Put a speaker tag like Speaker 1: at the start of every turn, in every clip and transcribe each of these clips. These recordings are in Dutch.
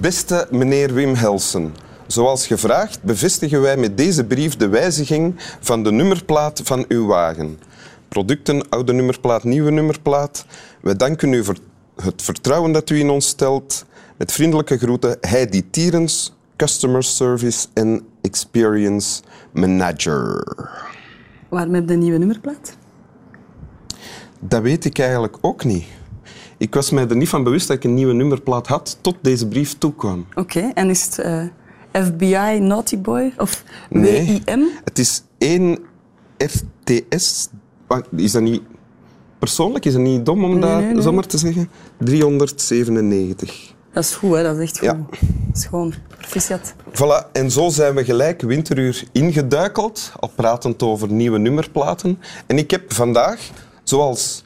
Speaker 1: Beste meneer Wim Helsen, zoals gevraagd bevestigen wij met deze brief de wijziging van de nummerplaat van uw wagen. Producten, oude nummerplaat, nieuwe nummerplaat. Wij danken u voor het vertrouwen dat u in ons stelt. Met vriendelijke groeten, Heidi Tierens, Customer Service en Experience Manager.
Speaker 2: Waarom heb je een nieuwe nummerplaat?
Speaker 1: Dat weet ik eigenlijk ook niet. Ik was mij er niet van bewust dat ik een nieuwe nummerplaat had tot deze brief toekwam.
Speaker 2: Oké, en is het eh, FBI Naughty Boy of WIM?
Speaker 1: het is één RTS. Wa- Is dat niet persoonlijk? Is het niet dom om dat
Speaker 2: nee, nee.
Speaker 1: zomaar te zeggen? 397.
Speaker 2: Dat is goed, hè? dat is echt goed.
Speaker 1: Ja.
Speaker 2: Dat is gewoon proficiat.
Speaker 1: Voilà, en zo zijn we gelijk winteruur ingeduikeld, al pratend over nieuwe nummerplaten. En ik heb vandaag, zoals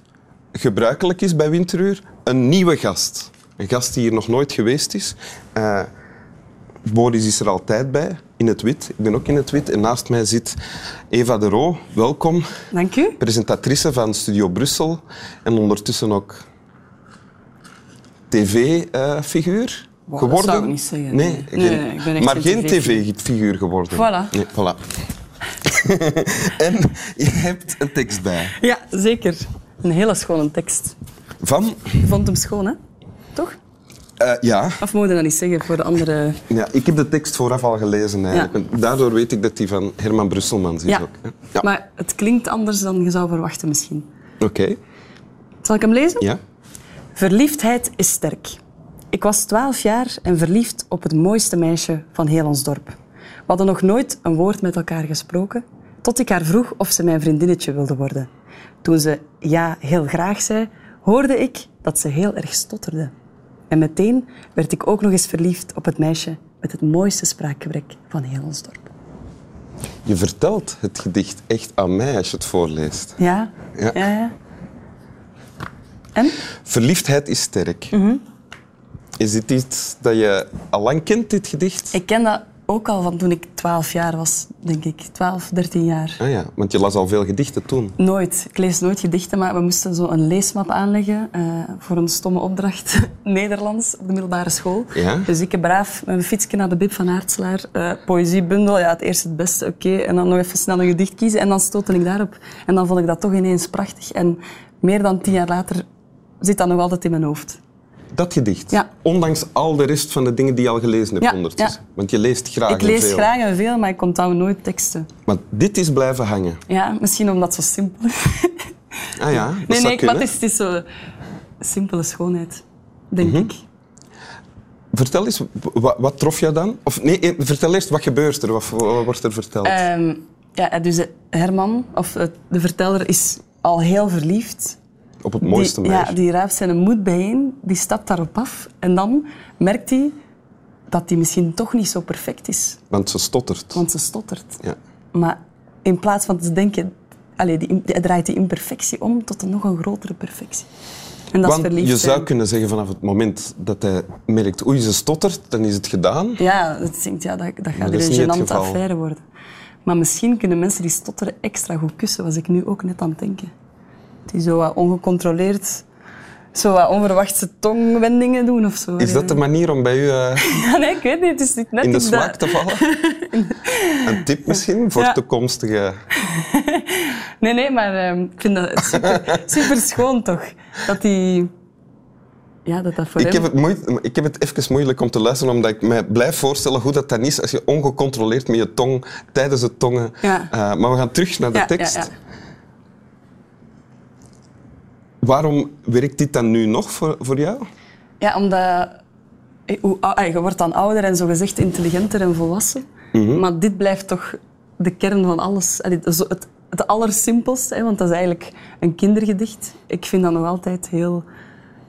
Speaker 1: gebruikelijk is bij winteruur, een nieuwe gast. Een gast die hier nog nooit geweest is. Eh, Boris is er altijd bij, in het wit. Ik ben ook in het wit. En naast mij zit Eva de Roo. Welkom,
Speaker 2: Dank u.
Speaker 1: presentatrice van Studio Brussel. En ondertussen ook tv-figuur
Speaker 2: Wow, dat
Speaker 1: geworden.
Speaker 2: zou ik niet zeggen,
Speaker 1: Nee,
Speaker 2: nee.
Speaker 1: geen-
Speaker 2: Nee, ik ben echt
Speaker 1: maar
Speaker 2: geen
Speaker 1: geen
Speaker 2: TV-figuur.
Speaker 1: tv-figuur geworden.
Speaker 2: Voilà.
Speaker 1: Nee, voilà. en je hebt een tekst bij.
Speaker 2: Ja, zeker. Een hele schone tekst.
Speaker 1: Van,
Speaker 2: Je vond hem schoon, hè? Toch?
Speaker 1: eh, ja,
Speaker 2: Of moet je dat niet zeggen voor de andere...
Speaker 1: Ja, ik heb de tekst vooraf al gelezen eigenlijk. Daardoor weet ik dat die van Herman Brusselmans is
Speaker 2: Ja.
Speaker 1: ook. hè? Ja.
Speaker 2: Maar het klinkt anders dan je zou verwachten misschien.
Speaker 1: Oké.
Speaker 2: Zal ik hem lezen?
Speaker 1: Ja.
Speaker 2: Verliefdheid is sterk. Ik was 12 jaar en verliefd op het mooiste meisje van heel ons dorp. We hadden nog nooit een woord met elkaar gesproken, tot ik haar vroeg of ze mijn vriendinnetje wilde worden. Toen ze ja heel graag zei, hoorde ik dat ze heel erg stotterde. En meteen werd ik ook nog eens verliefd op het meisje met het mooiste spraakgebrek van heel ons dorp.
Speaker 1: Je vertelt het gedicht echt aan mij als je het voorleest.
Speaker 2: Ja?
Speaker 1: Ja.
Speaker 2: ja, ja. En?
Speaker 1: Verliefdheid is sterk.
Speaker 2: Mhm.
Speaker 1: Is dit iets dat je al lang kent, dit gedicht?
Speaker 2: Ik ken dat ook al van toen ik 12 jaar was, denk ik. 12, 13 jaar.
Speaker 1: Ah ja, want je las al veel gedichten toen.
Speaker 2: Nooit. Ik lees nooit gedichten, maar we moesten zo een leesmap aanleggen eh, voor een stomme opdracht. Nederlands op de middelbare school.
Speaker 1: Ja?
Speaker 2: Dus ik heb braaf met mijn fietsje naar de Bib van Aartslaar. eh, poëziebundel, ja, het eerste het beste, oké. En dan nog even snel een gedicht kiezen en dan stootte ik daarop. En dan vond ik dat toch ineens prachtig. En meer dan tien jaar later zit dat nog altijd in mijn hoofd.
Speaker 1: Dat gedicht.
Speaker 2: Ja.
Speaker 1: Ondanks al de rest van de dingen die je al gelezen hebt
Speaker 2: Ja,
Speaker 1: ondertussen.
Speaker 2: ja.
Speaker 1: Want je leest graag
Speaker 2: ik lees
Speaker 1: en Ah, veel.
Speaker 2: graag en veel, maar ik onthoud nooit teksten.
Speaker 1: Want dit is blijven hangen.
Speaker 2: Ja, misschien omdat het zo simpel is.
Speaker 1: Ah ja, dat
Speaker 2: Nee,
Speaker 1: zou
Speaker 2: nee, ik- maar
Speaker 1: kunnen.
Speaker 2: het is, het is zo simpele schoonheid, denk
Speaker 1: Mhm.
Speaker 2: ik.
Speaker 1: Vertel eens, wat, wat trof je dan? Of nee, eh, vertel eerst, wat gebeurt er? Wat, wat wordt er verteld?
Speaker 2: Ehm, ja, dus Herman, of eh, de verteller, is al heel verliefd.
Speaker 1: Op het mooiste
Speaker 2: die,
Speaker 1: meisje.
Speaker 2: Ja, die raapt zijn moed bijeen, die stapt daarop af. En dan merkt hij dat hij misschien toch niet zo perfect is,
Speaker 1: Want ze stottert.
Speaker 2: want ze stottert.
Speaker 1: Ja.
Speaker 2: Maar in plaats van te denken, allee, die, hij draait die imperfectie om tot een nog een grotere perfectie. En dat
Speaker 1: Want
Speaker 2: is verliefd.
Speaker 1: je zou
Speaker 2: zijn.
Speaker 1: kunnen zeggen vanaf het moment dat hij merkt, oei, ze stottert, dan is het gedaan.
Speaker 2: Ja, dat, denkt, ja, dat, dat gaat
Speaker 1: dat is niet
Speaker 2: weer een
Speaker 1: het
Speaker 2: gênante
Speaker 1: geval.
Speaker 2: affaire worden. Maar misschien kunnen mensen die stotteren extra goed kussen, was ik nu ook net aan het denken. Die zo wat ongecontroleerd, zo wat onverwachte tongwendingen doen of zo.
Speaker 1: Is dat de manier om bij u eh,
Speaker 2: Ja, nee, ik weet niet. Het is niet net
Speaker 1: in de
Speaker 2: iets
Speaker 1: smaak te
Speaker 2: dat...
Speaker 1: vallen? Een tip misschien voor
Speaker 2: Ja.
Speaker 1: toekomstige...
Speaker 2: Nee, nee, maar ehm, ik vind dat super, super schoon toch. Dat die... Ja, dat dat voor
Speaker 1: Ik
Speaker 2: hem...
Speaker 1: heb, het moe- ik heb het even moeilijk om te luisteren, omdat ik mij blijf voorstellen hoe dat dan is als je ongecontroleerd met je tong, tijdens het tongen...
Speaker 2: Ja.
Speaker 1: Eh, maar we gaan terug naar de
Speaker 2: Ja, ja,
Speaker 1: tekst.
Speaker 2: ja.
Speaker 1: Waarom werkt dit dan nu nog voor, voor jou?
Speaker 2: Ja, omdat eh, hoe, ou- ah, je wordt dan ouder en zogezegd intelligenter en volwassen. Maar dit blijft toch de kern van alles. Allee, het- zo het, het allersimpelste, hè, want dat is eigenlijk een kindergedicht. Ik vind dat nog altijd heel,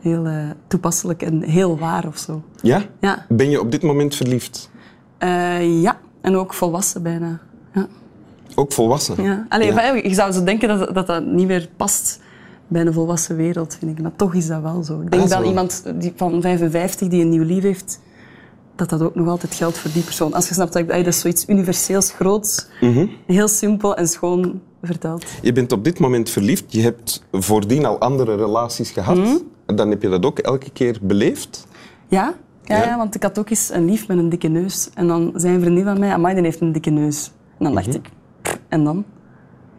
Speaker 2: heel eh, toepasselijk en heel waar of zo.
Speaker 1: Ja?
Speaker 2: Ja.
Speaker 1: Ben je op dit moment verliefd?
Speaker 2: Eh, ja, en ook volwassen bijna. Ja.
Speaker 1: Ook volwassen?
Speaker 2: Ja.
Speaker 1: Ja.
Speaker 2: Allee, van, Ik zou zo denken dat, dat dat niet meer past bij een volwassen wereld, vind ik. Maar toch is dat wel zo. Ik denk
Speaker 1: Ah, zo.
Speaker 2: dat iemand die, van 55 die een nieuw lief heeft, dat dat ook nog altijd geldt voor die persoon. Als je snapt dat ik dat is zoiets universeels groots,
Speaker 1: Mhm.
Speaker 2: heel simpel en schoon verteld.
Speaker 1: Je bent op dit moment verliefd. Je hebt
Speaker 2: Mhm.
Speaker 1: voordien al andere relaties gehad. En Dan heb je dat ook elke keer beleefd.
Speaker 2: Ja, Ja,
Speaker 1: Ja.
Speaker 2: ja, want ik had ook eens een lief met een dikke neus. En dan zei een vriendin van mij, amai, die heeft een dikke neus. En dan dacht ik, "Pff, en dan?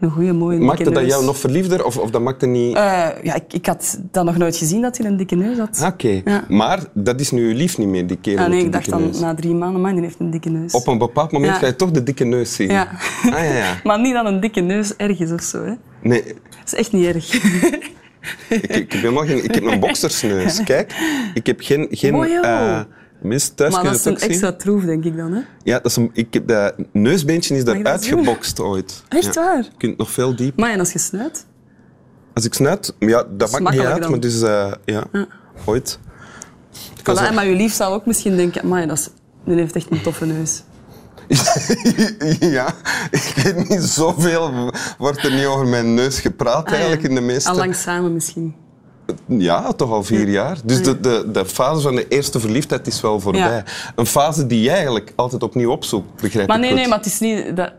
Speaker 2: Een goede mooie dikke
Speaker 1: Mhm. Maakte
Speaker 2: neus.
Speaker 1: dat jou nog verliefder of, of dat maakte niet...
Speaker 2: Eh, ja, ik, ik had dat nog nooit gezien, dat hij een dikke neus had.
Speaker 1: Ah, Oké,
Speaker 2: Ja.
Speaker 1: maar dat is nu uw lief niet meer, die kerel
Speaker 2: Ah, nee,
Speaker 1: met die
Speaker 2: ik dacht
Speaker 1: dikke
Speaker 2: dan
Speaker 1: neus.
Speaker 2: na drie maanden, man, die heeft een dikke neus.
Speaker 1: Op een bepaald moment
Speaker 2: Ja.
Speaker 1: ga je toch de dikke neus zien.
Speaker 2: Ja.
Speaker 1: Ah ja, ja.
Speaker 2: Maar niet dan een dikke neus ergens of zo. Hè.
Speaker 1: Nee,
Speaker 2: Dat is echt niet erg.
Speaker 1: ik, ik, heb helemaal geen, ik heb een boksersneus. Kijk, ik heb geen... geen
Speaker 2: Mooi, joh.
Speaker 1: eh, mensen thuis
Speaker 2: maar
Speaker 1: kunnen
Speaker 2: dat is
Speaker 1: het
Speaker 2: een
Speaker 1: ook zien.
Speaker 2: extra troef, denk ik dan. Hè.
Speaker 1: Ja, dat is een, ik heb dat neusbeentje is
Speaker 2: je
Speaker 1: daar
Speaker 2: dat
Speaker 1: uitgebokst ooit.
Speaker 2: Echt
Speaker 1: Ja.
Speaker 2: waar?
Speaker 1: Je kunt nog veel diep.
Speaker 2: Maar en als je snuit?
Speaker 1: Als ik snuit, ja, dat maakt niet
Speaker 2: makkelijk
Speaker 1: uit,
Speaker 2: dan.
Speaker 1: maar dus, eh, ja, ooit.
Speaker 2: Voilà,
Speaker 1: was er-
Speaker 2: maar je lief zal ook misschien denken, maar dat is, die heeft echt een toffe neus.
Speaker 1: ja, ik weet niet, zoveel wordt er niet over mijn neus gepraat
Speaker 2: Ah,
Speaker 1: eigenlijk in de meeste...
Speaker 2: Al lang samen misschien.
Speaker 1: Ja, toch al
Speaker 2: Hm.
Speaker 1: vier jaar. Dus de, de, de fase van de eerste verliefdheid is wel voorbij.
Speaker 2: Ja.
Speaker 1: Een fase die je eigenlijk altijd opnieuw opzoekt, begrijp
Speaker 2: Maar
Speaker 1: ik
Speaker 2: nee,
Speaker 1: goed.
Speaker 2: nee, maar het is niet... Dat,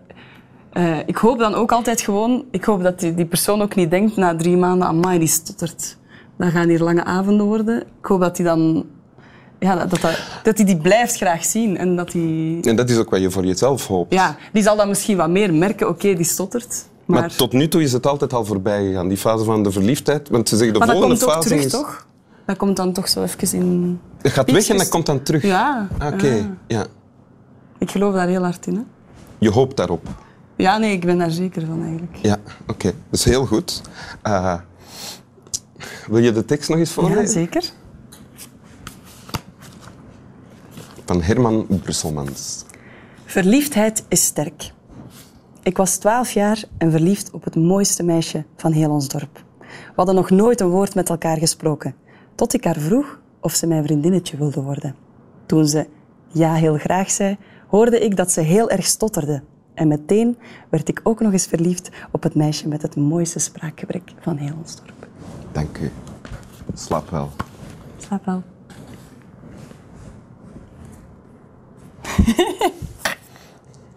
Speaker 2: eh, ik hoop dan ook altijd gewoon... Ik hoop dat die, die persoon ook niet denkt na drie maanden... Amai, die stottert. Dan gaan hier lange avonden worden. Ik hoop dat hij dan... Ja, dat dat, dat, die, die blijft graag zien. En dat die...
Speaker 1: En dat is ook wat je voor jezelf hoopt.
Speaker 2: Ja, die zal dan misschien wat meer merken. Oké, die stottert. Maar,
Speaker 1: Maar, tot nu toe is het altijd al voorbij gegaan, die fase van de verliefdheid. Want ze zeggen, de
Speaker 2: maar dat
Speaker 1: volgende
Speaker 2: komt ook
Speaker 1: fase
Speaker 2: terug,
Speaker 1: is...
Speaker 2: toch? Dat komt dan toch zo even in...
Speaker 1: Het gaat weg en
Speaker 2: Piekjes.
Speaker 1: dat komt dan terug. Ah,
Speaker 2: Ja, Ah.
Speaker 1: Oké,
Speaker 2: ja.
Speaker 1: ja.
Speaker 2: Ik geloof daar heel hard in, hè.
Speaker 1: Je hoopt daarop.
Speaker 2: Ja, nee, ik ben daar zeker van eigenlijk.
Speaker 1: Ja, oké. Dat is heel goed. Eh, wil je de tekst nog eens
Speaker 2: Ja,
Speaker 1: voorlezen?
Speaker 2: zeker.
Speaker 1: van Herman Brusselmans.
Speaker 2: Verliefdheid is sterk. Ik was twaalf jaar en verliefd op het mooiste meisje van heel ons dorp. We hadden nog nooit een woord met elkaar gesproken, tot ik haar vroeg of ze mijn vriendinnetje wilde worden. Toen ze ja heel graag zei, hoorde ik dat ze heel erg stotterde. En meteen werd ik ook nog eens verliefd op het meisje met het mooiste spraakgebrek van heel ons dorp.
Speaker 1: Dank u. Slaap wel.
Speaker 2: Slaap wel.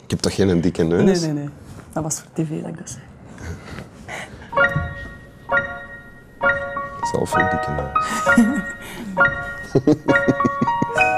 Speaker 1: Ik heb toch geen dikke neus?
Speaker 2: Nee, nee, nee. Dat was voor tv dat ik dat zei.
Speaker 1: Zelf een dikke neus.